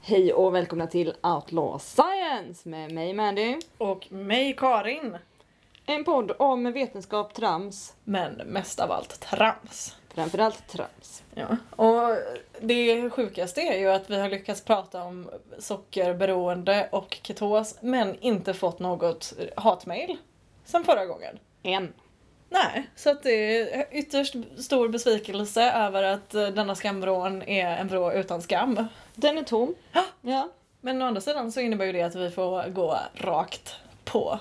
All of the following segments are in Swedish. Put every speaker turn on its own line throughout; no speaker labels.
Hej och välkomna till Outlaw Science med mig Mandy.
Och mig Karin.
En podd om vetenskap, trams,
Men mest av allt trams.
framförallt trams.
Ja. Och det sjukaste är ju att vi har lyckats prata om sockerberoende och ketos men inte fått något hatmail sen förra gången.
En.
Nej, så att det är ytterst stor besvikelse över att eh, denna skambrån är en vrå utan skam.
Den är tom. Ja.
Men å andra sidan så innebär ju det att vi får gå rakt på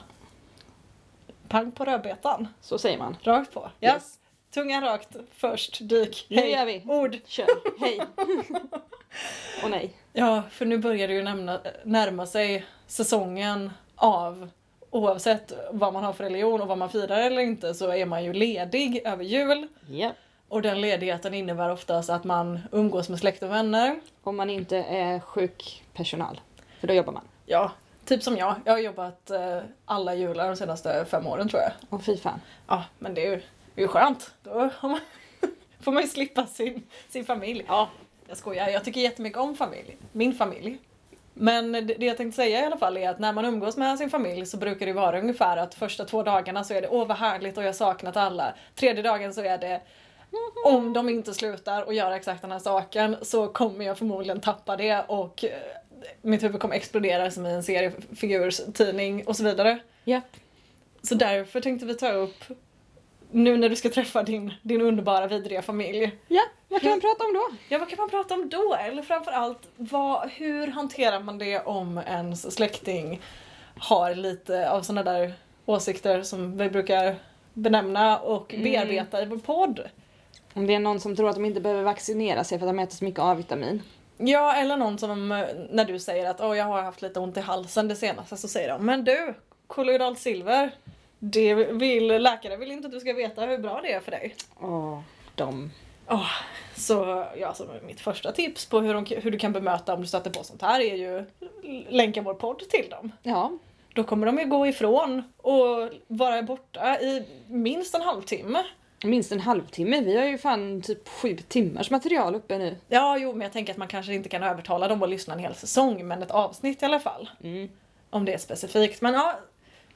pang på rödbetan.
Så säger man.
Rakt på. Ja.
Yes.
Tungan rakt först, dyk.
Nu gör vi.
Ord.
Kör. Hej. och nej.
Ja, för nu börjar det ju nämna, närma sig säsongen av oavsett vad man har för religion och vad man firar eller inte så är man ju ledig över jul.
Ja.
Och den ledigheten innebär oftast att man umgås med släkt och vänner.
Om man inte är sjukpersonal. För då jobbar man.
Ja, typ som jag. Jag har jobbat eh, alla jular de senaste fem åren tror jag.
Och fy fan.
Ja, men det är ju, det är ju skönt. Då har man, får man ju slippa sin, sin familj. Ja. Jag skojar, jag tycker jättemycket om familj. Min familj. Men det, det jag tänkte säga i alla fall är att när man umgås med sin familj så brukar det vara ungefär att första två dagarna så är det åh vad härligt och jag har saknat alla. Tredje dagen så är det om de inte slutar och gör exakt den här saken så kommer jag förmodligen tappa det och eh, mitt huvud kommer explodera som i en seriefigurstidning och så vidare.
Ja.
Så därför tänkte vi ta upp nu när du ska träffa din, din underbara vidriga familj.
Ja, vad kan man prata om då?
Ja, vad kan man prata om då? Eller framförallt, vad, hur hanterar man det om ens släkting har lite av sådana där åsikter som vi brukar benämna och
Mm.
bearbeta i vår podd?
Om det är någon som tror att de inte behöver vaccinera sig för att de äter så mycket A-vitamin.
Ja, eller någon som eh, när du säger att oh, jag har haft lite ont i halsen det senaste så säger de men du, kolloidalt silver, det vill, läkare vill inte att du ska veta hur bra det är för dig.
Åh, de.
Ja, så ja, så mitt första tips på hur, de, hur du kan bemöta om du stöter på sånt här är ju länka vår podd till dem.
Ja.
Då kommer de ju gå ifrån och vara borta i minst en halvtimme.
Minst en halvtimme. Vi har ju fan typ sju timmars material uppe nu.
Ja, jo, men jag tänker att man kanske inte kan övertala dem att lyssna en hel säsong, men ett avsnitt i alla fall.
Mm.
Om det är specifikt. Men ja,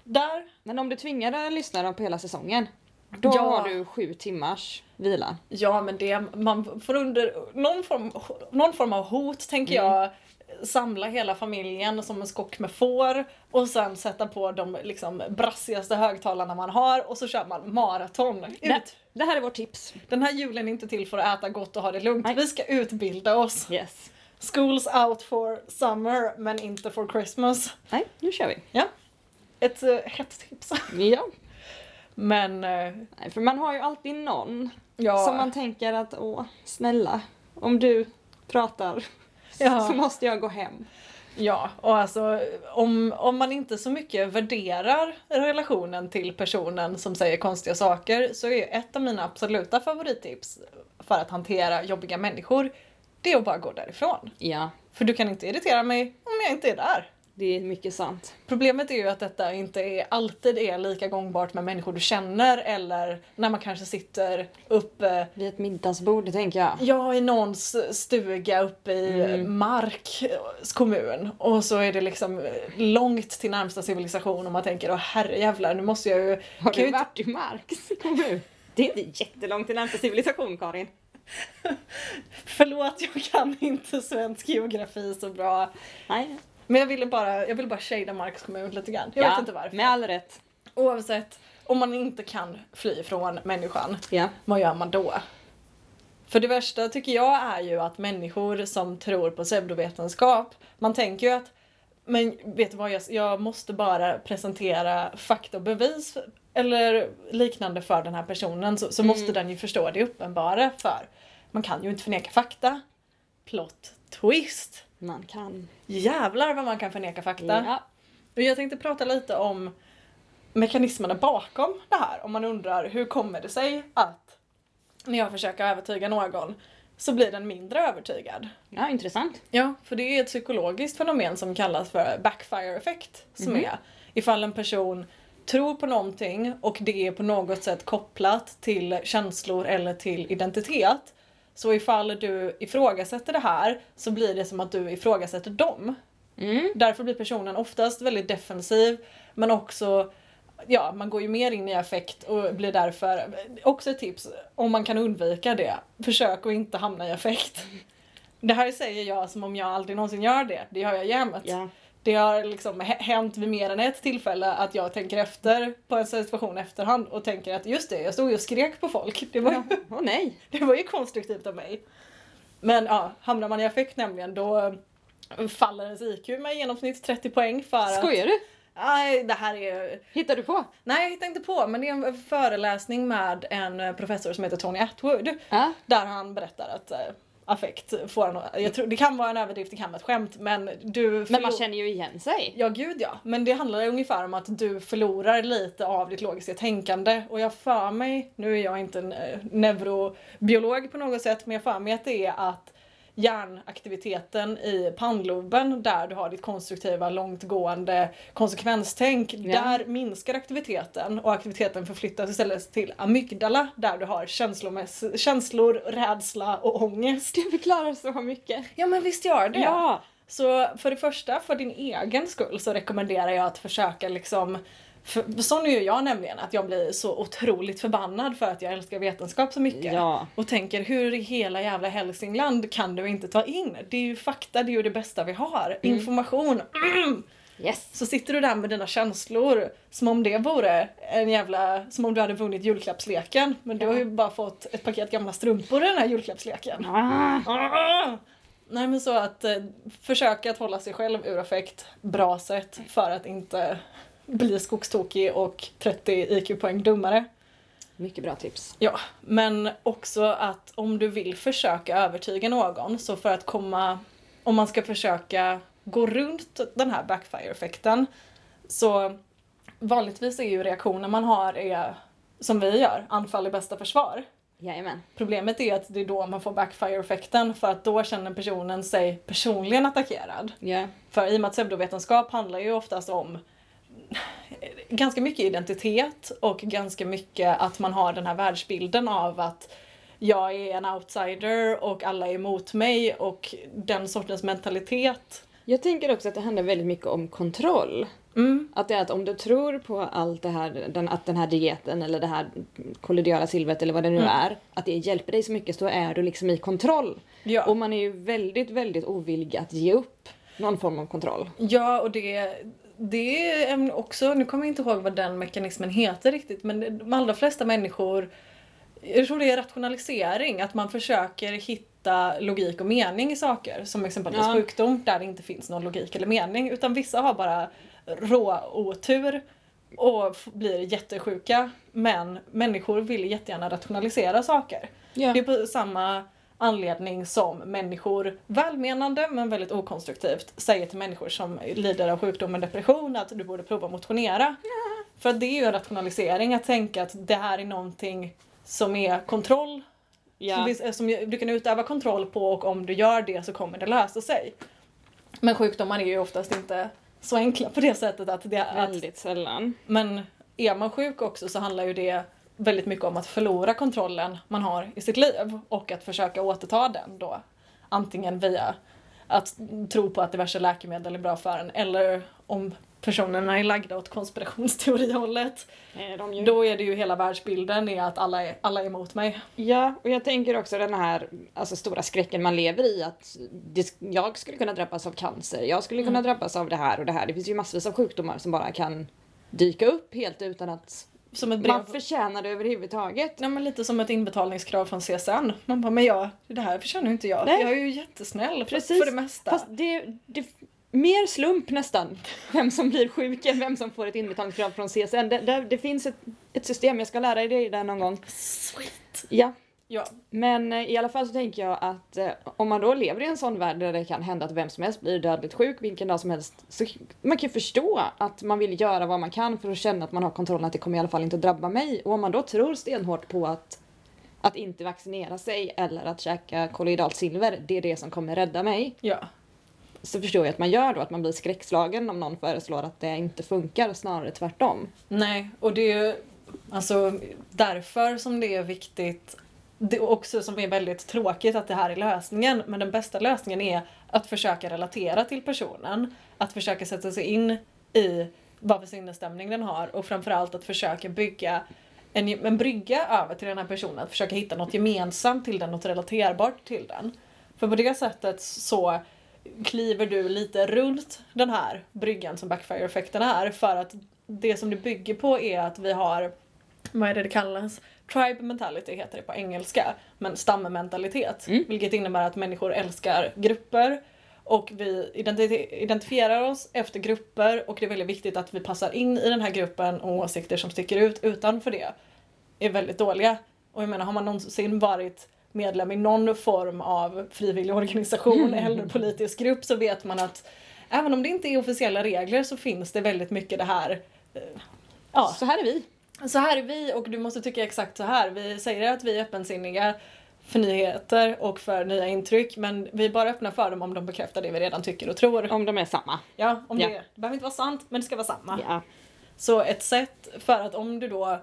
där.
Men om du tvingar en lyssnare på hela säsongen, då
Ja.
har du sju timmars vila.
Ja, men det, man får under någon form, någon form av hot, tänker
Mm.
jag, samla hela familjen som en skock med får och sen sätta på de liksom brassigaste högtalarna man har och så kör man maraton.
Nej.
Ut.
Det här är vårt tips.
Den här julen är inte till för att äta gott och ha det lugnt.
Nej.
Vi ska utbilda oss.
Yes.
School's out for summer, men inte for Christmas.
Nej, nu kör vi.
Ett uh, hett tips.
Ja.
Men eh,
Nej, för man har ju alltid någon
ja,
som man tänker att åh, snälla, om du pratar
Ja.
så måste jag gå hem.
Ja, och alltså om, om man inte så mycket värderar relationen till personen som säger konstiga saker så är ett av mina absoluta favorittips för att hantera jobbiga människor, det är att bara gå därifrån.
Ja,
För du kan inte irritera mig om jag inte är där.
det är mycket sant.
Problemet är ju att detta inte är, alltid är lika gångbart med människor du känner eller när man kanske sitter uppe
Vid ett middagsbord tänker jag.
Ja, i någons stuga uppe i
Mm.
Marks kommun. Och så är det liksom långt till närmsta civilisation och man tänker åh herrejävlar, nu måste jag ju...
Har
kan
du
ju inte-
varit i Marks kommun? Det är inte jättelångt till närmsta civilisation Karin.
Förlåt, jag kan inte svensk geografi så bra.
Nej.
Men jag ville bara, jag ville bara shada Marks kommun lite grann. Jag vet inte varför.
Med all rätt.
Oavsett, om man inte kan fly från människan,
Ja.
vad gör man då? För det värsta tycker jag är ju att människor som tror på pseudovetenskap, man tänker ju att men vet du vad, jag, jag måste bara presentera fakta och bevis eller liknande för den här personen så, så måste den ju förstå det uppenbara för man kan ju inte förneka fakta. Plot twist!
Man kan.
Jävlar vad man kan förneka fakta.
Ja.
Och jag tänkte prata lite om mekanismerna bakom det här. Om man undrar hur kommer det sig att när jag försöker övertyga någon så blir den mindre övertygad.
ja, intressant.
Ja, för det är ett psykologiskt fenomen som kallas för backfire effekt. Som
Mhm.
är ifall en person tror på någonting och det är på något sätt kopplat till känslor eller till identitet Så ifall du ifrågasätter det här så blir det som att du ifrågasätter dem.
Mm.
Därför blir personen oftast väldigt defensiv men också Ja, man går ju mer in i affekt och blir därför också ett tips om man kan undvika det. Försök att inte hamna i affekt. Det här säger jag som om jag aldrig någonsin gör det. Det gör jag jämt.
Ja.
Det har liksom hä- hänt vid mer än ett tillfälle att jag tänker efter på en situation i efterhand och tänker att just det, jag stod ju och skrek på folk. Det var, ju,
Ja. Åh nej.
det var ju konstruktivt av mig. Men ja, hamnar man i affekt nämligen då eh, faller ens IQ med i genomsnitt 30 poäng för att...
Skojar du?
Nej, det här är...
Hittar du på?
Nej, jag hittar inte på, men det är en föreläsning med en eh, professor som heter Tony Atwood.
Ja.
Där han berättar att eh, affekt får en... Jag tror, det kan vara en överdrift, det kan vara ett skämt, men du...
Men man
förlo-
känner ju igen sig.
Ja, gud ja. Men det handlar ju ungefär om att du förlorar lite av ditt logiska tänkande. Och jag för mig, nu är jag inte en eh, neurobiolog på något sätt, men jag för mig att det är att hjärnaktiviteten i pannloben där du har ditt konstruktiva långtgående konsekvenstänk,
Ja.
där minskar aktiviteten och aktiviteten förflyttas istället till amygdala där du har känslomäss- känslor, rädsla och ångest.
Du förklarar så mycket.
Ja men visst gör det!
Ja.
Så för det första, för din egen skull, så rekommenderar jag att försöka liksom för, sån är ju jag nämligen, att jag blir så otroligt förbannad för att jag älskar vetenskap så mycket.
Ja.
Och tänker hur i hela jävla Hälsingland kan du inte ta in? Det är ju fakta, det är ju det bästa vi har. Information.
Yes.
Så sitter du där med dina känslor som om det vore en jävla, som om du hade vunnit julklappsleken. Men du har ju bara fått ett paket gamla strumpor i den här julklappsleken.
Ah.
Ah! Nej men så att eh, försöka att hålla sig själv ur affekt, bra sätt för att inte bli skogstokig och 30 IQ-poäng dummare.
Mycket bra tips.
Ja, men också att om du vill försöka övertyga någon så för att komma, om man ska försöka gå runt den här backfire-effekten så vanligtvis är ju reaktionen man har är som vi gör, anfall är bästa försvar.
Jajamän.
Problemet är att det är då man får backfire-effekten för att då känner personen sig personligen attackerad.
Ja.
För i och med att pseudovetenskap handlar ju oftast om ganska mycket identitet och ganska mycket att man har den här världsbilden av att jag är en outsider och alla är emot mig och den sortens mentalitet.
Jag tänker också att det handlar väldigt mycket om kontroll.
Mm.
Att det är att om du tror på allt det här, den, att den här dieten eller det här kollodiala silvret eller vad det nu
Mm.
är, att det hjälper dig så mycket så är du liksom i kontroll.
Ja.
Och man är ju väldigt, väldigt ovillig att ge upp någon form av kontroll.
Ja, och det, det är en- också, nu kommer jag inte ihåg vad den mekanismen heter riktigt, men de allra flesta människor, jag tror det är rationalisering, att man försöker hitta logik och mening i saker, som exempelvis
Ja.
sjukdom där det inte finns någon logik eller mening, utan vissa har bara rå otur och f- blir jättesjuka, men människor vill jättegärna rationalisera saker.
Ja.
Det är på samma anledning som människor, välmenande men väldigt okonstruktivt, säger till människor som lider av sjukdom och depression att du borde prova motionera. För att det är ju en rationalisering att tänka att det här är någonting som är kontroll, som,
Ja.
vi- som du kan utöva kontroll på och om du gör det så kommer det lösa sig. Men sjukdomar är ju oftast inte så enkla på det sättet att det att
Väldigt sällan.
men är man sjuk också så handlar ju det väldigt mycket om att förlora kontrollen man har i sitt liv och att försöka återta den då. Antingen via att tro på att diverse läkemedel är bra för en eller om personerna är lagda åt konspirationsteorihållet.
Eh, Mm.
Då är det ju hela världsbilden är att alla är, alla är emot mig.
Ja, och jag tänker också den här alltså, stora skräcken man lever i att det, jag skulle kunna drabbas av cancer, jag skulle kunna drabbas av det här och det här. Det finns ju massvis av sjukdomar som bara kan dyka upp helt utan att
Som ett brev.
man förtjänar det överhuvudtaget.
Nej, men lite som ett inbetalningskrav från CSN. Man bara, men jag, det här förtjänar ju inte jag.
Nej.
Jag är ju jättesnäll för,
Precis.
för det mesta.
Fast det, det mer slump nästan, vem som blir sjuk än vem som får ett inbetalningskrav från CSN. Det, det, det finns ett, ett system, jag ska lära er det där någon gång.
Sweet.
Ja,
Ja,
Men eh, i alla fall så tänker jag att eh, om man då lever i en sån värld där det kan hända att vem som helst blir dödligt sjuk vilken dag som helst. Så man kan ju förstå att man vill göra vad man kan för att känna att man har kontrollen att det kommer i alla fall inte att drabba mig. Och om man då tror stenhårt på att, att inte vaccinera sig eller att käka kolloidalt silver, det är det som kommer rädda mig.
ja.
Så förstår jag att man gör då, att man blir skräckslagen om någon föreslår att det inte funkar, snarare tvärtom.
Nej, och det är ju alltså, därför som det är viktigt det är också som är väldigt tråkigt att det här är lösningen men den bästa lösningen är att försöka relatera till personen. Att försöka sätta sig in i vad för sinnesstämning den har och framförallt att försöka bygga en, en brygga över till den här personen. Att försöka hitta något gemensamt till den, något relaterbart till den. För på det sättet så kliver du lite runt den här bryggan som backfire-effekten är för att det som det bygger på är att vi har, vad är det det kallas? Tribe mentality heter det på engelska, men stammentalitet.
Mm.
Vilket innebär att människor älskar grupper och vi identi- identifierar oss efter grupper och det är väldigt viktigt att vi passar in i den här gruppen och åsikter som sticker ut utanför det är väldigt dåliga. Och jag menar, har man någonsin varit medlem i någon form av frivillig organisation eller politisk grupp så vet man att även om det inte är officiella regler så finns det väldigt mycket det här eh, ja,
Så här är vi.
så här är vi och du måste tycka exakt så här. Vi säger att vi är öppensinniga för nyheter och för nya intryck men vi är bara öppna för dem om de bekräftar det vi redan tycker och tror.
Om de är samma.
Ja, om
Ja.
Det, det behöver inte vara sant men det ska vara samma.
Ja.
Så ett sätt för att om du då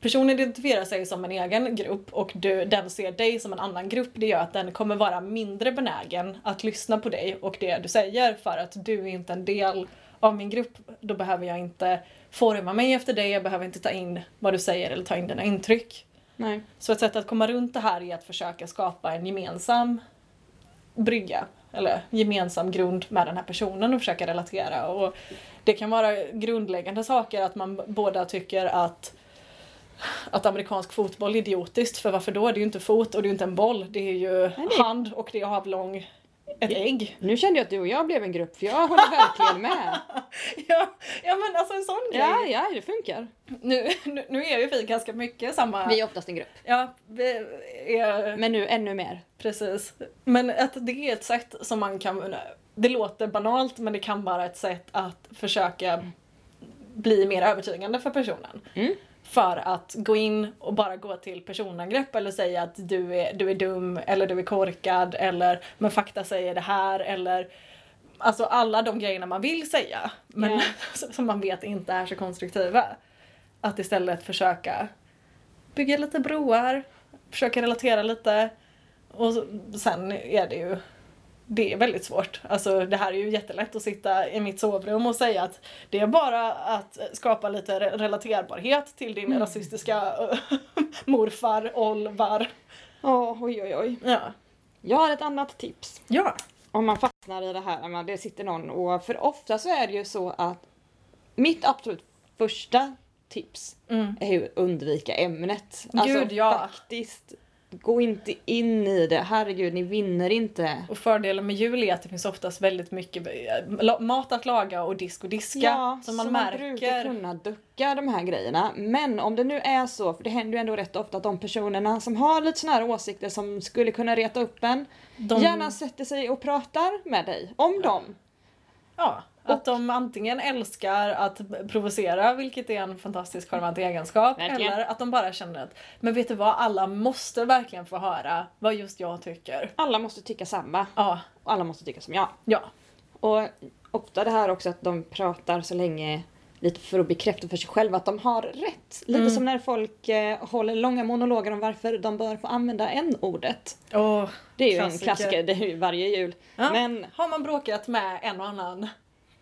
personen identifierar sig som en egen grupp och du, den ser dig som en annan grupp det gör att den kommer vara mindre benägen att lyssna på dig och det du säger för att du är inte en del av min grupp. Då behöver jag inte forma mig efter dig, jag behöver inte ta in vad du säger eller ta in dina intryck.
Nej.
Så ett sätt att komma runt det här är att försöka skapa en gemensam brygga eller gemensam grund med den här personen och försöka relatera. Och det kan vara grundläggande saker att man b- båda tycker att att amerikansk fotboll är idiotiskt för varför då? Det är ju inte fot och det är ju inte en boll. Det är ju
Nej, det-
hand och det är avlång ett ägg.
Nu kände jag att du och jag blev en grupp för jag håller verkligen med.
Ja, ja men alltså en sån grej.
Ja, ja, det funkar.
Nu, nu, nu är ju vi ganska mycket samma.
Vi är oftast en grupp.
Ja, vi är
Men nu ännu mer.
Precis. Men att det är ett sätt som man kan... Det låter banalt men det kan vara ett sätt att försöka bli mer övertygande för personen.
Mm.
För att gå in och bara gå till personangrepp eller säga att du är, du är dum eller du är korkad eller men fakta säger det här eller alltså alla de grejerna man vill säga men
Ja.
som man vet inte är så konstruktiva. Att istället försöka bygga lite broar, försöka relatera lite. Och så- sen är det ju det är väldigt svårt. Alltså det här är ju jättelätt att sitta i mitt sovrum och säga att det är bara att skapa lite re- relaterbarhet till din rasistiska morfar, Olvar.
Oh, oj, oj, oj.
Ja.
Jag har ett annat tips.
Ja.
Om man fastnar i det här, när det sitter någon och... För ofta så är det ju så att mitt absolut första tips
Mm.
är ju undvika ämnet. Alltså,
Gud, ja.
Faktiskt, gå inte in i det. Herregud, ni vinner inte.
Och fördelen med jul är att det finns oftast väldigt mycket eh, la- mat att laga och disk och diska.
Ja,
som man
så man brukar
märker.
kunna ducka de här grejerna. Men om det nu är så, för det händer ju ändå rätt ofta att de personerna som har lite såna här åsikter som skulle kunna reta upp en,
De-
gärna sätter sig och pratar med dig om dem.
Ja, att de antingen älskar att provocera, vilket är en fantastisk charmant egenskap,
Mm. Verkligen.
eller att de bara känner att men vet du vad, alla måste verkligen få höra vad just jag tycker.
Alla måste tycka samma
Ja,
och alla måste tycka som jag.
ja,
Och ofta det här också att de pratar så länge lite för att bekräfta för sig själva att de har rätt. Lite
Mm.
som när folk eh, håller långa monologer om varför de bör få använda en ordet
Åh,
Det är ju en
Klassiker.
klassiker, det är ju varje jul.
Ja.
Men
har man bråkat med en och annan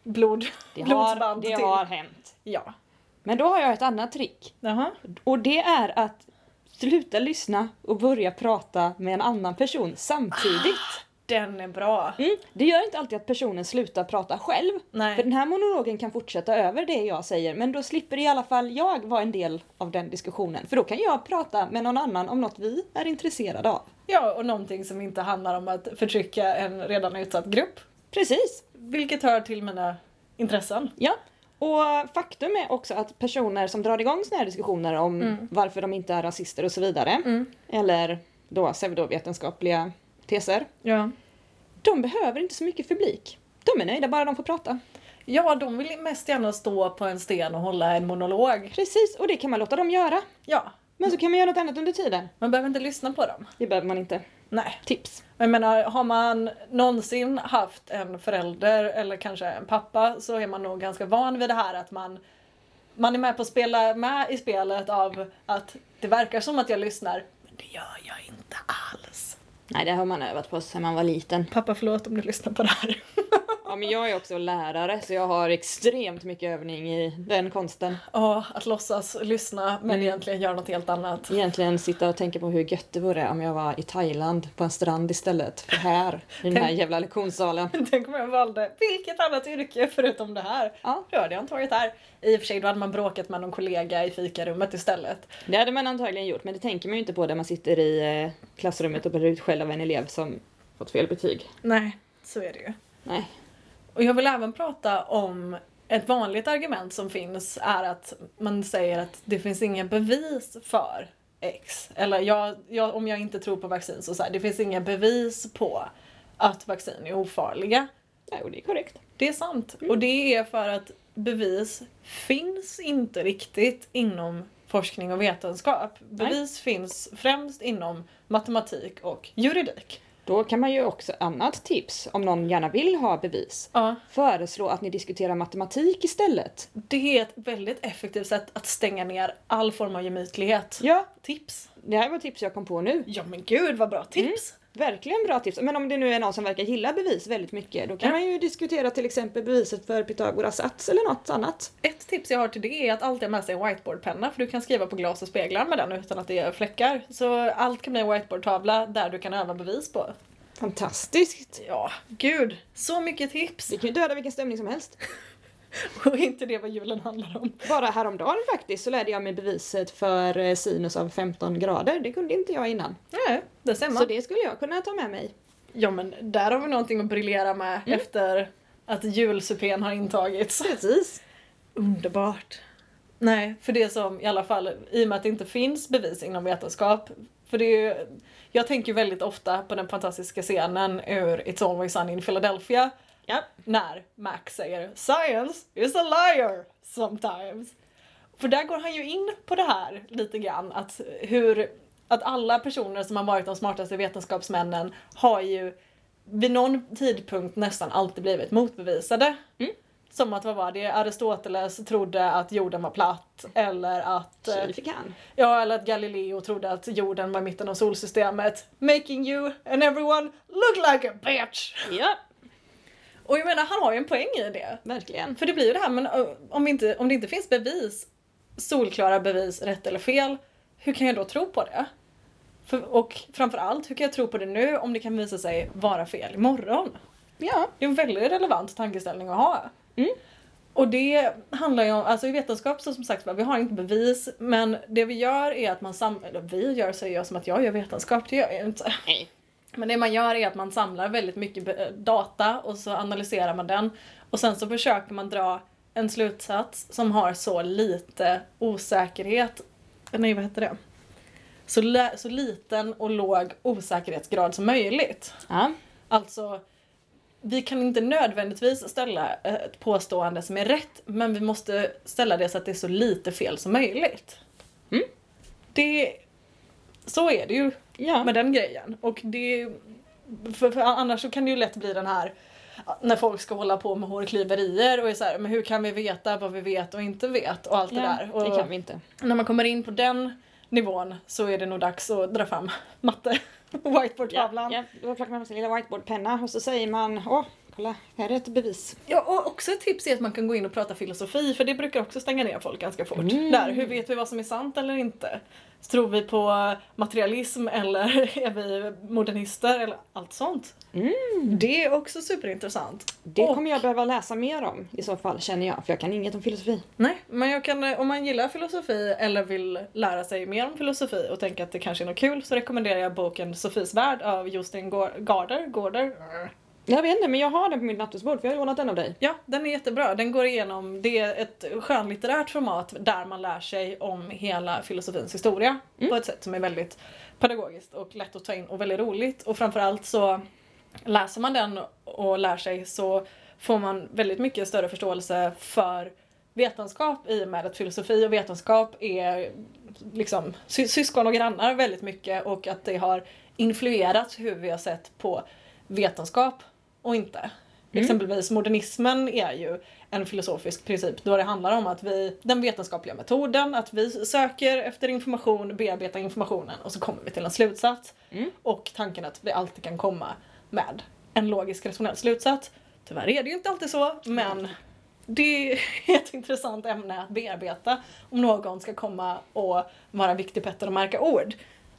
blod,
det har,
blodsband
det
till?
har hänt.
Ja.
Men då har jag ett annat trick.
Jaha.
Och det är att sluta lyssna och börja prata med en annan person samtidigt.
Den är bra.
Mm. Det gör inte alltid att personen slutar prata själv.
Nej.
För den här monologen kan fortsätta över det jag säger men då slipper i alla fall jag vara en del av den diskussionen. För då kan jag prata med någon annan om något vi är intresserade av.
Ja, och någonting som inte handlar om att förtrycka en redan utsatt grupp.
Precis!
Vilket hör till mina intressen.
Ja. Och faktum är också att personer som drar igång såna här diskussioner om varför de inte är rasister och så vidare, eller då pseudovetenskapliga teser,
Ja.
de behöver inte så mycket publik. De är nöjda bara de får prata.
Ja, de vill mest gärna stå på en sten och hålla en monolog.
Precis, och det kan man låta dem göra.
Ja,
Men så kan man göra något annat under tiden.
man behöver inte lyssna på dem.
Det behöver man inte.
Nej.
Tips.
Jag menar, har man någonsin haft en förälder eller kanske en pappa så är man nog ganska van vid det här att man man är med på att spela med i spelet av att det verkar som att jag lyssnar Det gör jag inte alls.
Nej, det har man övat på sedan man var liten.
Pappa förlåt om du lyssnar på det här.
Ja, men jag är också lärare så jag har extremt mycket övning i den konsten.
Ja, att låtsas lyssna men egentligen göra något helt annat.
Egentligen sitta och tänka på hur gött det vore om jag var i Thailand på en strand istället för här i den här jävla lektionssalen.
Tänk om jag valde vilket annat yrke förutom det här.
Ja.
Då hade jag antagligen det här. I och för sig då hade man bråkat med någon kollega i fikarummet istället.
Det hade man antagligen gjort, men det tänker man ju inte på när man sitter i eh, klassrummet och blir utskälld av en elev som fått fel betyg.
Nej, så är det ju.
Nej.
Och jag vill även prata om ett vanligt argument som finns är att man säger att det finns inga bevis för X. Eller jag, jag, om jag inte tror på vaccin så, så här, det finns inga bevis på att vaccin är ofarliga.
Nej, och det är korrekt.
Det är sant. Och det är för att bevis finns inte riktigt inom forskning och vetenskap. Bevis finns främst inom matematik och juridik.
Då kan man ju också annat tips, om någon gärna vill ha bevis,
Ja.
föreslå att ni diskuterar matematik istället.
Det är ett väldigt effektivt sätt att stänga ner all form av gemytlighet.
Ja,
Tips!
det här var tips jag kom på nu.
Ja men gud vad bra tips!
Mm. Verkligen bra tips. Men om det nu är någon som verkar gilla bevis väldigt mycket, då kan
Ja.
man ju diskutera till exempel beviset för Pythagoras sats eller något annat.
Ett tips jag har till det är att alltid ha med sig en whiteboardpenna för du kan skriva på glas och speglar med den utan att det är fläckar. Så allt kan bli en whiteboardtavla där du kan öva bevis på.
Fantastiskt!
Ja, gud! Så mycket tips!
Det kan ju döda vilken stämning som helst.
Och inte det vad julen handlar om.
Bara häromdagen faktiskt så lärde jag mig beviset för eh, sinus av 15 grader. Det kunde inte jag innan.
Nej, det ser man.
Så det skulle jag kunna ta med mig.
Ja men där har vi någonting att briljera med efter att julsupén har intagits.
Precis.
Underbart. Nej, för det som i alla fall, i och med att det inte finns bevis inom vetenskap. För det är ju, jag tänker ju väldigt ofta på den fantastiska scenen ur It's Always Sunny in Philadelphia.
Ja.
När Max säger “Science is a liar sometimes”. För där går han ju in på det här lite grann, att hur att alla personer som har varit de smartaste vetenskapsmännen har ju vid någon tidpunkt nästan alltid blivit motbevisade. Som att vad var det? Aristoteles trodde att jorden var platt. Eller att, eh,
Tji fick han.
ja, eller att Galileo trodde att jorden var i mitten av solsystemet. Making you and everyone look like a bitch!
Ja,
Och jag menar, han har ju en poäng i det.
verkligen.
För det blir ju det här, men eh, om, vi inte, om det inte finns bevis, solklara bevis, rätt eller fel, hur kan jag då tro på det? För, och framförallt, hur kan jag tro på det nu om det kan visa sig vara fel imorgon?
Ja.
Det är en väldigt relevant tankeställning att ha.
Mm.
Och det handlar ju om, alltså i vetenskap så som sagt vi har inte bevis men det vi gör är att man sam- eller vi gör säger jag som att jag gör vetenskap, det gör jag ju inte.
Nej.
Men det man gör är att man samlar väldigt mycket be- data och så analyserar man den och sen så försöker man dra en slutsats som har så lite osäkerhet, nej vad heter det? Så, lä- så liten och låg osäkerhetsgrad som möjligt.
Ja.
Alltså, vi kan inte nödvändigtvis ställa eh, ett påstående som är rätt, men vi måste ställa det så att det är så lite fel som möjligt.
Mm.
Det, så är det ju
Ja.
med den grejen. Och det, för, för annars så kan det ju lätt bli den här när folk ska hålla på med hårklyverier och är så här, men hur kan vi veta vad vi vet och inte vet och allt det där.
ja,
Och
det kan vi inte.
När man kommer in på den nivån så är det nog dags att dra fram matte, whiteboardtavlan.
Ja, ja. Då plockar man fram sin lilla whiteboardpenna och så säger man åh, kolla, här är ett bevis.
Ja, och också ett tips är att man kan gå in och prata filosofi för det brukar också stänga ner folk ganska fort.
Mm.
Där, hur vet vi vad som är sant eller inte? Tror vi på materialism eller är vi modernister eller allt sånt? Det är också superintressant.
Det
Och-
kommer jag behöva läsa mer om i så fall känner jag, för jag kan inget om filosofi.
Nej, men jag kan, om man gillar filosofi eller vill lära sig mer om filosofi och tänka att det kanske är något kul så rekommenderar jag boken Sofis värld av Justin Gor- Garder. Garder.
Jag vet inte, men jag har den på mitt nattduksbord för jag har lånat den av dig.
Ja, den är jättebra. Den går igenom, det är ett skönlitterärt format där man lär sig om hela filosofins historia på ett sätt som är väldigt pedagogiskt och lätt att ta in och väldigt roligt. Och framförallt så läser man den och lär sig så får man väldigt mycket större förståelse för vetenskap i och med att filosofi och vetenskap är liksom sy- syskon och grannar väldigt mycket och att det har influerat hur vi har sett på vetenskap och inte. Exempelvis modernismen är ju en filosofisk princip då det handlar om att vi, den vetenskapliga metoden, att vi söker efter information, bearbetar informationen och så kommer vi till en slutsats.
Mm.
Och tanken att vi alltid kan komma med en logisk rationell slutsats. Tyvärr är det ju inte alltid så, men det är ett intressant ämne att bearbeta om någon ska komma och vara viktig Petter och märka ord.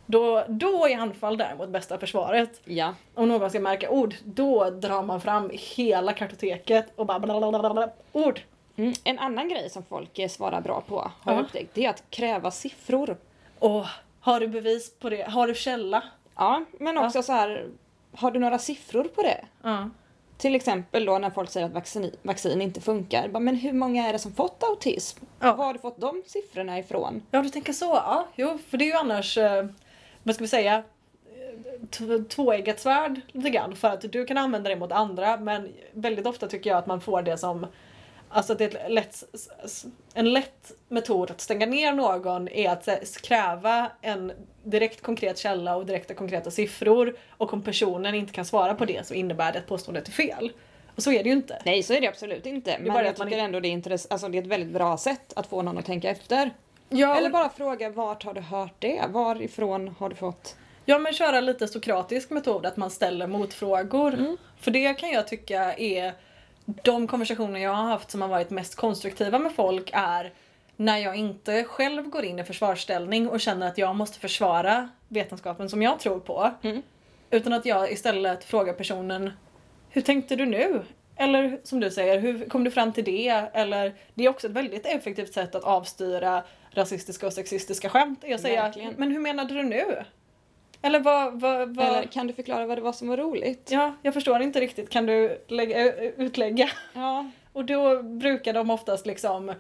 Då, då är anfall däremot bästa försvaret.
Ja.
Om någon ska märka ord, då drar man fram hela kartoteket och bara blablabla, ord.
Mm. En annan grej som folk eh, svarar bra på, har jag
Ja.
upptäckt, det är att kräva siffror.
Och har du bevis på det? Har du källa?
Ja, men
Ja.
också så här, har du några siffror på det?
Ja.
Till exempel då när folk säger att vaccin, vaccin inte funkar. Bara, Men hur många är det som fått autism?
Ja.
Var har du fått de siffrorna ifrån?
Ja, du tänker så. Ja, jo, för det är ju annars, eh, vad ska vi säga, eh, t- tvåeggat svärd lite grann. För att du kan använda det mot andra, men väldigt ofta tycker jag att man får det som Alltså att det är ett lätt, s- s- en lätt metod att stänga ner någon är att eh, kräva en direkt konkret källa och direkta konkreta siffror och om personen inte kan svara på det så innebär det att påståendet är fel. Och så är det ju inte.
Nej, så är det absolut inte. Men
bara det
jag
att man
tycker ändå det är, intress- alltså, det är ett väldigt bra sätt att få någon att tänka efter.
Ja,
Eller bara fråga vart har du hört det? Varifrån har du fått?
Ja men köra lite sokratisk metod, att man ställer motfrågor. För det kan jag tycka är de konversationer jag har haft som har varit mest konstruktiva med folk är när jag inte själv går in i försvarsställning och känner att jag måste försvara vetenskapen som jag tror på.
Mm.
Utan att jag istället frågar personen Hur tänkte du nu? Eller som du säger, hur kom du fram till det? Eller det är också ett väldigt effektivt sätt att avstyra rasistiska och sexistiska skämt. Jag säger
Verkligen.
Men hur menade du nu? Eller vad... vad, vad...
Eller kan du förklara vad det var som var roligt?
Ja, jag förstår inte riktigt. Kan du lägga, ö- utlägga?
Ja.
Och då brukar de oftast liksom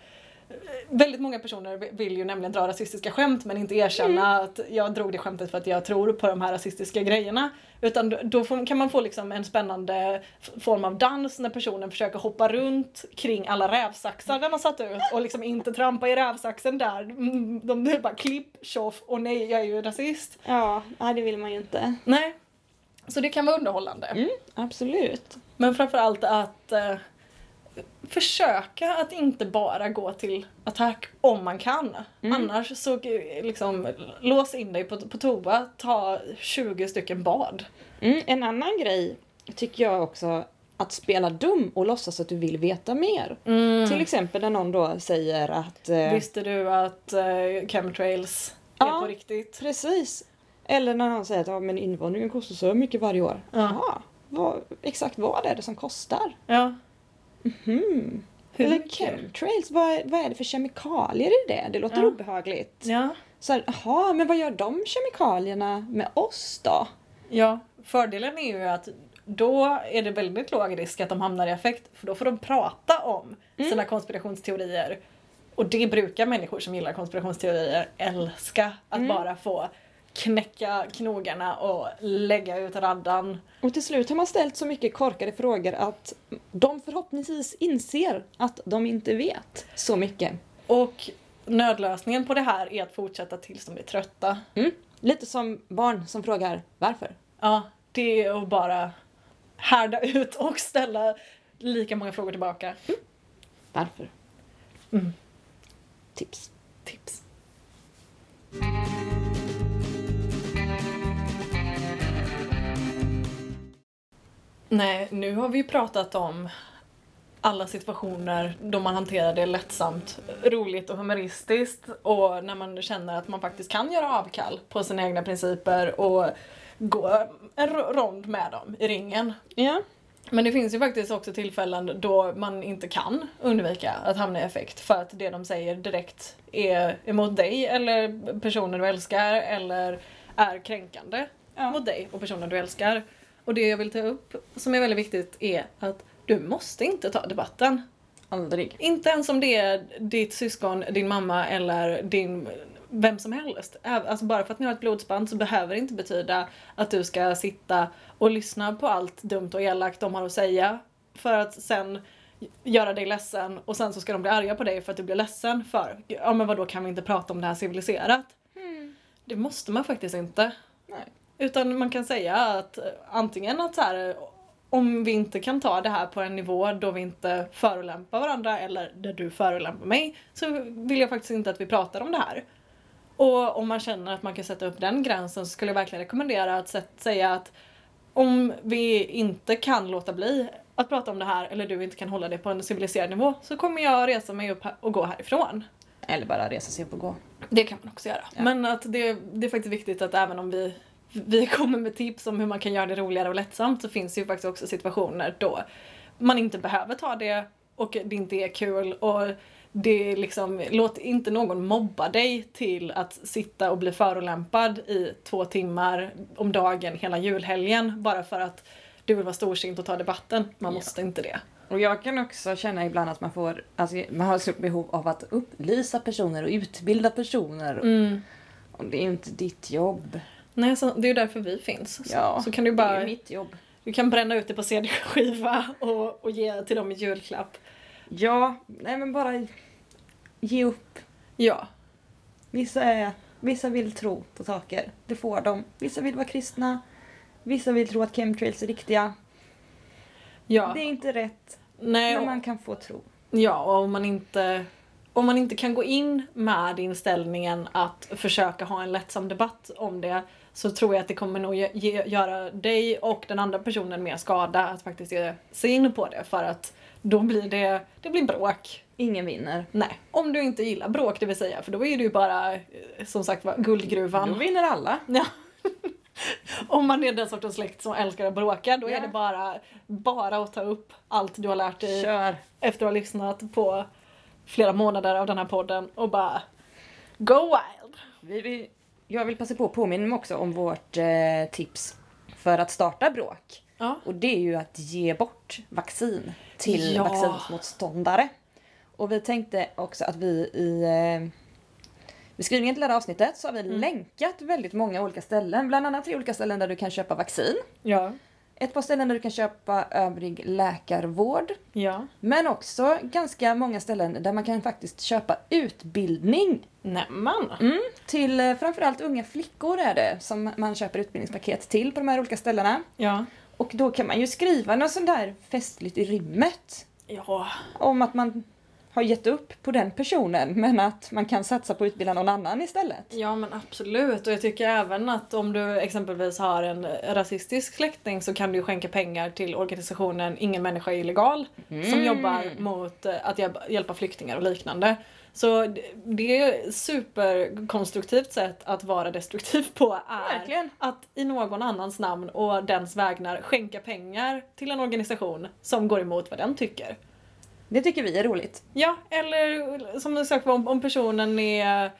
Väldigt många personer vill ju nämligen dra rasistiska skämt men inte erkänna att jag drog det skämtet för att jag tror på de här rasistiska grejerna. Utan då- då får, kan man få liksom en spännande f- form av dans när personen försöker hoppa runt kring alla rävsaxar den har satt ut och liksom inte trampa i rävsaxen där. Mm, De de bara klipp, tjoff och nej jag är ju rasist.
Ja, nej, det vill man ju inte.
Nej. Så det kan vara underhållande.
Absolut.
Men framförallt att eh, försöka att inte bara gå till attack om man kan.
Mm.
Annars så eh, liksom lås in dig på, på toa, ta 20 stycken bad.
Mm, en annan grej tycker jag också att spela dum och låtsas att du vill veta mer. Till exempel när någon då säger att... eh,
Visste du att eh, chemtrails är
Ja.
på riktigt?
Precis. Eller när någon säger att ja, men invandringen kostar så mycket varje år.
Ja.
Jaha, vad, exakt vad är det som kostar?
Ja.
Hmm.
Hur
Eller
mycket?
chemtrails, vad är, vad är det för kemikalier i det? Det låter
Ja.
obehagligt.
Ja.
Så här, jaha, men vad gör de kemikalierna med oss då?
ja. Fördelen är ju att då är det väldigt låg risk att de hamnar i affekt för då får de prata om
Mm.
sina konspirationsteorier. Och det brukar människor som gillar konspirationsteorier älska. Att
Mm.
bara få knäcka knogarna och lägga ut raddan.
Och till slut har man ställt så mycket korkade frågor att de förhoppningsvis inser att de inte vet så mycket.
Och nödlösningen på det här är att fortsätta tills de blir trötta.
Mm. Lite som barn som frågar varför.
Ja, det är att bara härda ut och ställa lika många frågor tillbaka.
Varför?
Mm.
Tips.
Tips. Nej, nu har vi ju pratat om alla situationer då man hanterar det lättsamt, roligt och humoristiskt och när man känner att man faktiskt kan göra avkall på sina egna principer och gå en ro- rond med dem i ringen.
Ja.
Men det finns ju faktiskt också tillfällen då man inte kan undvika att hamna i effekt för att det de säger direkt är emot dig eller personer du älskar eller är kränkande
ja.
mot dig och personer du älskar. Och det jag vill ta upp som är väldigt viktigt är att du måste inte ta debatten.
Aldrig.
Inte ens om det är ditt syskon, din mamma eller din vem som helst. Ä- Alltså bara för att ni har ett blodsband så behöver det inte betyda att du ska sitta och lyssna på allt dumt och elakt de har att säga för att sen göra dig ledsen och sen så ska de bli arga på dig för att du blir ledsen för ja men vadå kan vi inte prata om det här civiliserat? Det måste man faktiskt inte.
Nej.
Utan man kan säga att eh, antingen att så här, eh, om vi inte kan ta det här på en nivå då vi inte förolämpar varandra eller där du förolämpar mig så vill jag faktiskt inte att vi pratar om det här. Och om man känner att man kan sätta upp den gränsen så skulle jag verkligen rekommendera att sä- säga att om vi inte kan låta bli att prata om det här eller du inte kan hålla det på en civiliserad nivå så kommer jag resa mig upp här- och gå härifrån.
Eller bara resa sig upp och gå.
Det kan man också göra. Men att det, det är faktiskt viktigt att även om vi, vi kommer med tips om hur man kan göra det roligare och lättsamt så finns det ju faktiskt också situationer då man inte behöver ta det och det inte är kul och det är liksom, låt inte någon mobba dig till att sitta och bli förolämpad i två timmar om dagen hela julhelgen bara för att du vill vara storsint och ta debatten. Man
Ja.
måste inte det.
Och jag kan också känna ibland att man får, alltså man har ett stort behov av att upplysa personer och utbilda personer. Och det är ju inte ditt jobb.
Nej, så, det är ju därför vi finns. Så,
Ja,
så kan du
Det
bara
är ju mitt jobb.
Du kan bränna ut det på CD-skiva och, och ge till dem i julklapp.
Ja, nej men bara ge upp.
Ja.
Vissa, är, vissa vill tro på saker, det får de. Vissa vill vara kristna. Vissa vill tro att chemtrails är riktiga.
Ja.
Det är inte rätt,
Nej,
men
och,
man kan få tro.
ja, och om man inte... Om man inte kan gå in med inställningen att försöka ha en lättsam debatt om det så tror jag att det kommer nog ge, ge, göra dig och den andra personen mer skada att faktiskt ge sig in på det för att då blir det, det blir bråk.
Ingen vinner.
Nej, om du inte gillar bråk det vill säga för då är det ju bara eh, som sagt var guldgruvan.
Då vinner alla.
Ja. Om man är den sortens släkt som älskar att bråka då
Ja.
är det bara, bara att ta upp allt du har lärt dig
Kör.
efter att ha lyssnat på flera månader av den här podden och bara go wild!
Vi vill, jag vill passa på att påminna också om vårt eh, tips för att starta bråk.
Ja.
Och det är ju att ge bort vaccin till
Ja.
vaccinsmotståndare. Och vi tänkte också att vi i eh, beskrivningen till det här avsnittet så har vi länkat väldigt många olika ställen. Bland annat tre olika ställen där du kan köpa vaccin.
Ja.
Ett par ställen där du kan köpa övrig läkarvård.
Ja.
Men också ganska många ställen där man kan faktiskt köpa utbildning
Nämen!
Mm, till eh, framförallt unga flickor är det som man köper utbildningspaket till på de här olika ställena.
Ja.
Och då kan man ju skriva något sånt där festligt i rimmet
Ja.
om att man har gett upp på den personen men att man kan satsa på att utbilda någon annan istället.
Ja men absolut och jag tycker även att om du exempelvis har en rasistisk släkting så kan du skänka pengar till organisationen Ingen människa är illegal som jobbar mot eh, att hjälpa- hjälpa flyktingar och liknande. Så d- det är ett superkonstruktivt sätt att vara destruktiv på är
Verkligen.
att i någon annans namn och dens vägnar skänka pengar till en organisation som går emot vad den tycker.
Det tycker vi är roligt.
Ja, eller som du sagt om, om personen är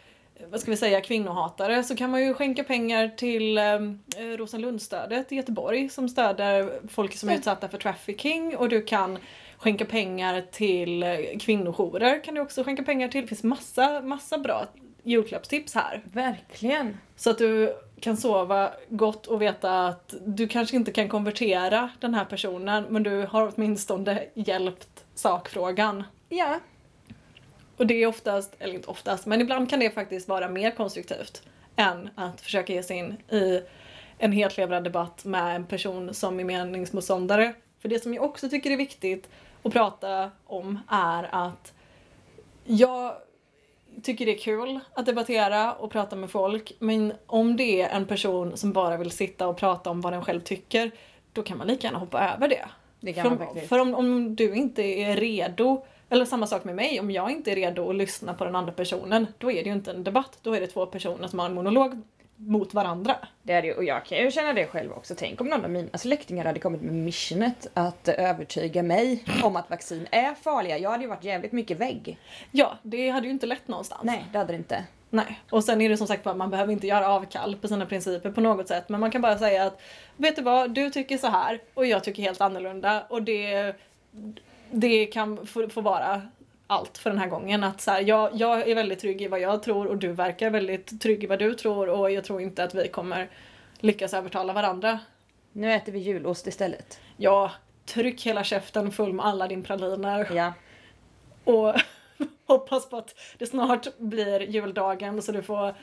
vad ska vi säga, kvinnohatare så kan man ju skänka pengar till eh, Rosenlundsstödet i Göteborg som stöder folk som är utsatta för trafficking och du kan skänka pengar till eh, kvinnojourer kan du också skänka pengar till. Det finns massa, massa bra julklappstips här.
Verkligen.
Så att du kan sova gott och veta att du kanske inte kan konvertera den här personen men du har åtminstone hjälpt sakfrågan.
Ja,
Och det är oftast, eller inte oftast, men ibland kan det faktiskt vara mer konstruktivt än att försöka ge sig in i en hetlevrad debatt med en person som är meningsmotståndare. För det som jag också tycker är viktigt att prata om är att jag tycker det är kul att debattera och prata med folk men om det är en person som bara vill sitta och prata om vad den själv tycker då kan man lika gärna hoppa över det.
det kan
För,
man
om,
faktiskt.
för om, om du inte är redo, eller samma sak med mig, om jag inte är redo att lyssna på den andra personen, då är det ju inte en debatt. Då är det två personer som har en monolog mot varandra.
Det är det, ju, och jag kan ju känna det själv också. Tänk om någon av mina släktingar hade kommit med missionet att övertyga mig om att vaccin är farliga. Jag hade ju varit jävligt mycket vägg.
Ja, det hade ju inte lett någonstans.
Nej, det hade det inte.
Nej. Och sen är det som sagt bara, man behöver inte göra avkall på sina principer på något sätt, men man kan bara säga att vet du vad, du tycker så här och jag tycker helt annorlunda och det, det kan få, få vara allt för den här gången. Att så här, jag, jag är väldigt trygg i vad jag tror och du verkar väldigt trygg i vad du tror och jag tror inte att vi kommer lyckas övertala varandra.
Nu äter vi julost istället.
Ja, tryck hela käften full med alla din praliner
Ja.
och hoppas på att det snart blir juldagen så du får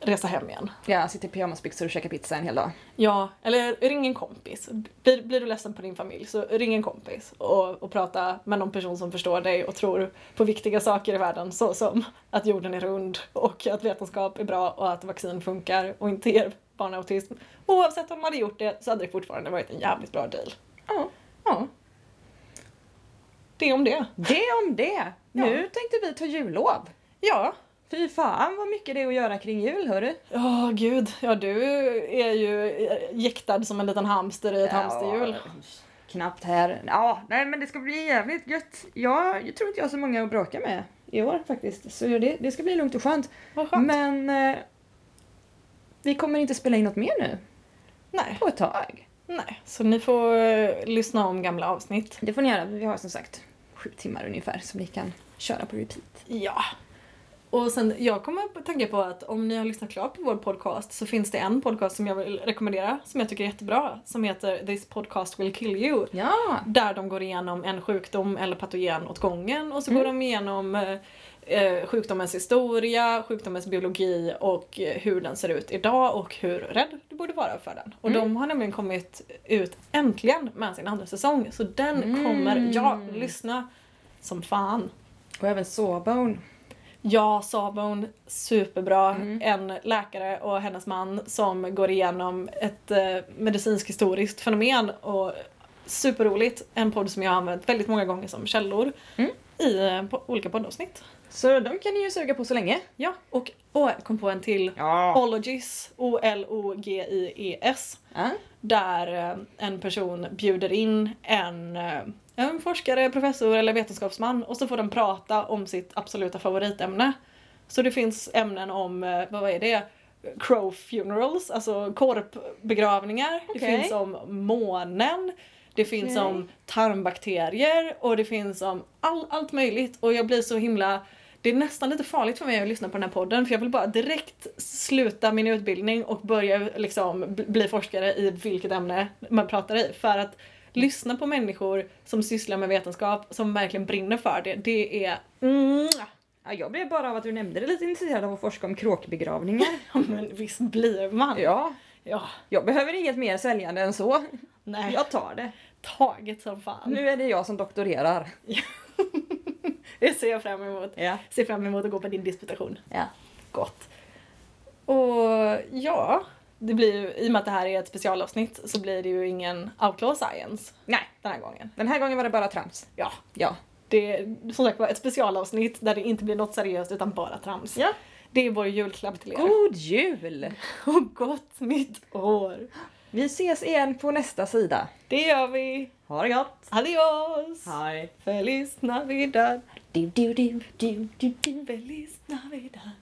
resa hem igen.
Ja, sitter i pyjamasbyxor och käkar pizza en hel dag.
Ja, eller ring en kompis. Blir, blir du ledsen på din familj så ring en kompis och, och prata med någon person som förstår dig och tror på viktiga saker i världen såsom att jorden är rund och att vetenskap är bra och att vaccin funkar och inte ger barn autism. Oavsett om de hade gjort det så hade det fortfarande varit en jävligt bra deal.
Ja.
Ja. Det om det.
Det om det! Nu tänkte vi ta jullov.
Ja.
Fy fan vad mycket det är att göra kring jul hörru.
Ja, gud. Ja, du är ju eh, jäktad som en liten hamster i ett hamsterhjul.
Knappt här. Ja, nej men det ska bli jävligt gött. Jag, jag tror inte jag har så många att bråka med i år faktiskt. Så det, det ska bli lugnt och skönt.
Vad skönt.
Men eh, vi kommer inte spela in något mer nu
Nej,
på ett tag.
nej. Så ni får eh, lyssna om gamla avsnitt.
Det får ni göra. Vi har som sagt sju timmar ungefär som ni kan köra på repeat.
Ja. Och sen, jag kommer att tänka på att om ni har lyssnat klart på vår podcast så finns det en podcast som jag vill rekommendera som jag tycker är jättebra som heter This podcast will kill you.
Ja!
Där de går igenom en sjukdom eller patogen åt gången och så går de igenom eh, eh, sjukdomens historia, sjukdomens biologi och eh, hur den ser ut idag och hur rädd du borde vara för den. Och de har nämligen kommit ut äntligen med sin andra säsong så den kommer jag lyssna som fan.
Och även Sawbone.
Ja, Sabon, superbra.
Mm.
En läkare och hennes man som går igenom ett eh, medicinskt historiskt fenomen och superroligt. En podd som jag har använt väldigt många gånger som källor
Mm.
i eh, po- olika poddavsnitt.
Så de kan ni ju suga på så länge.
Ja, och åh, jag kom på en till.
Ja.
Ologies, E O-L-O-G-I-E-S, där eh, en person bjuder in en, eh, en forskare, professor eller vetenskapsman och så får de prata om sitt absoluta favoritämne. Så det finns ämnen om, eh, vad är det? Crow funerals, alltså korpbegravningar. Det
Okej.
finns om månen. Det finns
Okej.
om tarmbakterier och det finns om all, allt möjligt. Och jag blir så himla... Det är nästan lite farligt för mig att lyssna på den här podden för jag vill bara direkt sluta min utbildning och börja liksom bl- bli forskare i vilket ämne man pratar i. För att lyssna på människor som sysslar med vetenskap, som verkligen brinner för det, det är... Mm.
Ja, jag blev bara av att du nämnde det lite intresserad av att forska om kråkbegravningar.
Ja men visst blir man.
ja.
Ja,
Jag behöver inget mer säljande än så.
nej.
Jag tar det.
Taget som fan.
Nu är det jag som doktorerar.
Det ser jag fram emot.
Ja.
Ser fram emot att gå på din disputation.
ja.
Gott. Och ja, det blir ju, i och med att det här är ett specialavsnitt så blir det ju ingen outlaw science
Nej,
den här gången.
den här gången var det bara trams.
Ja,
Ja.
det är som sagt var ett specialavsnitt där det inte blir något seriöst utan bara trams.
Ja.
Det är vår julklapp till er.
God jul!
Och gott nytt år!
Vi ses igen på nästa sida.
Det gör vi!
Ha det gott!
Adios!
Hej!
Feliz Navidad!
Du, du, du, du, du, du.
Feliz Navidad!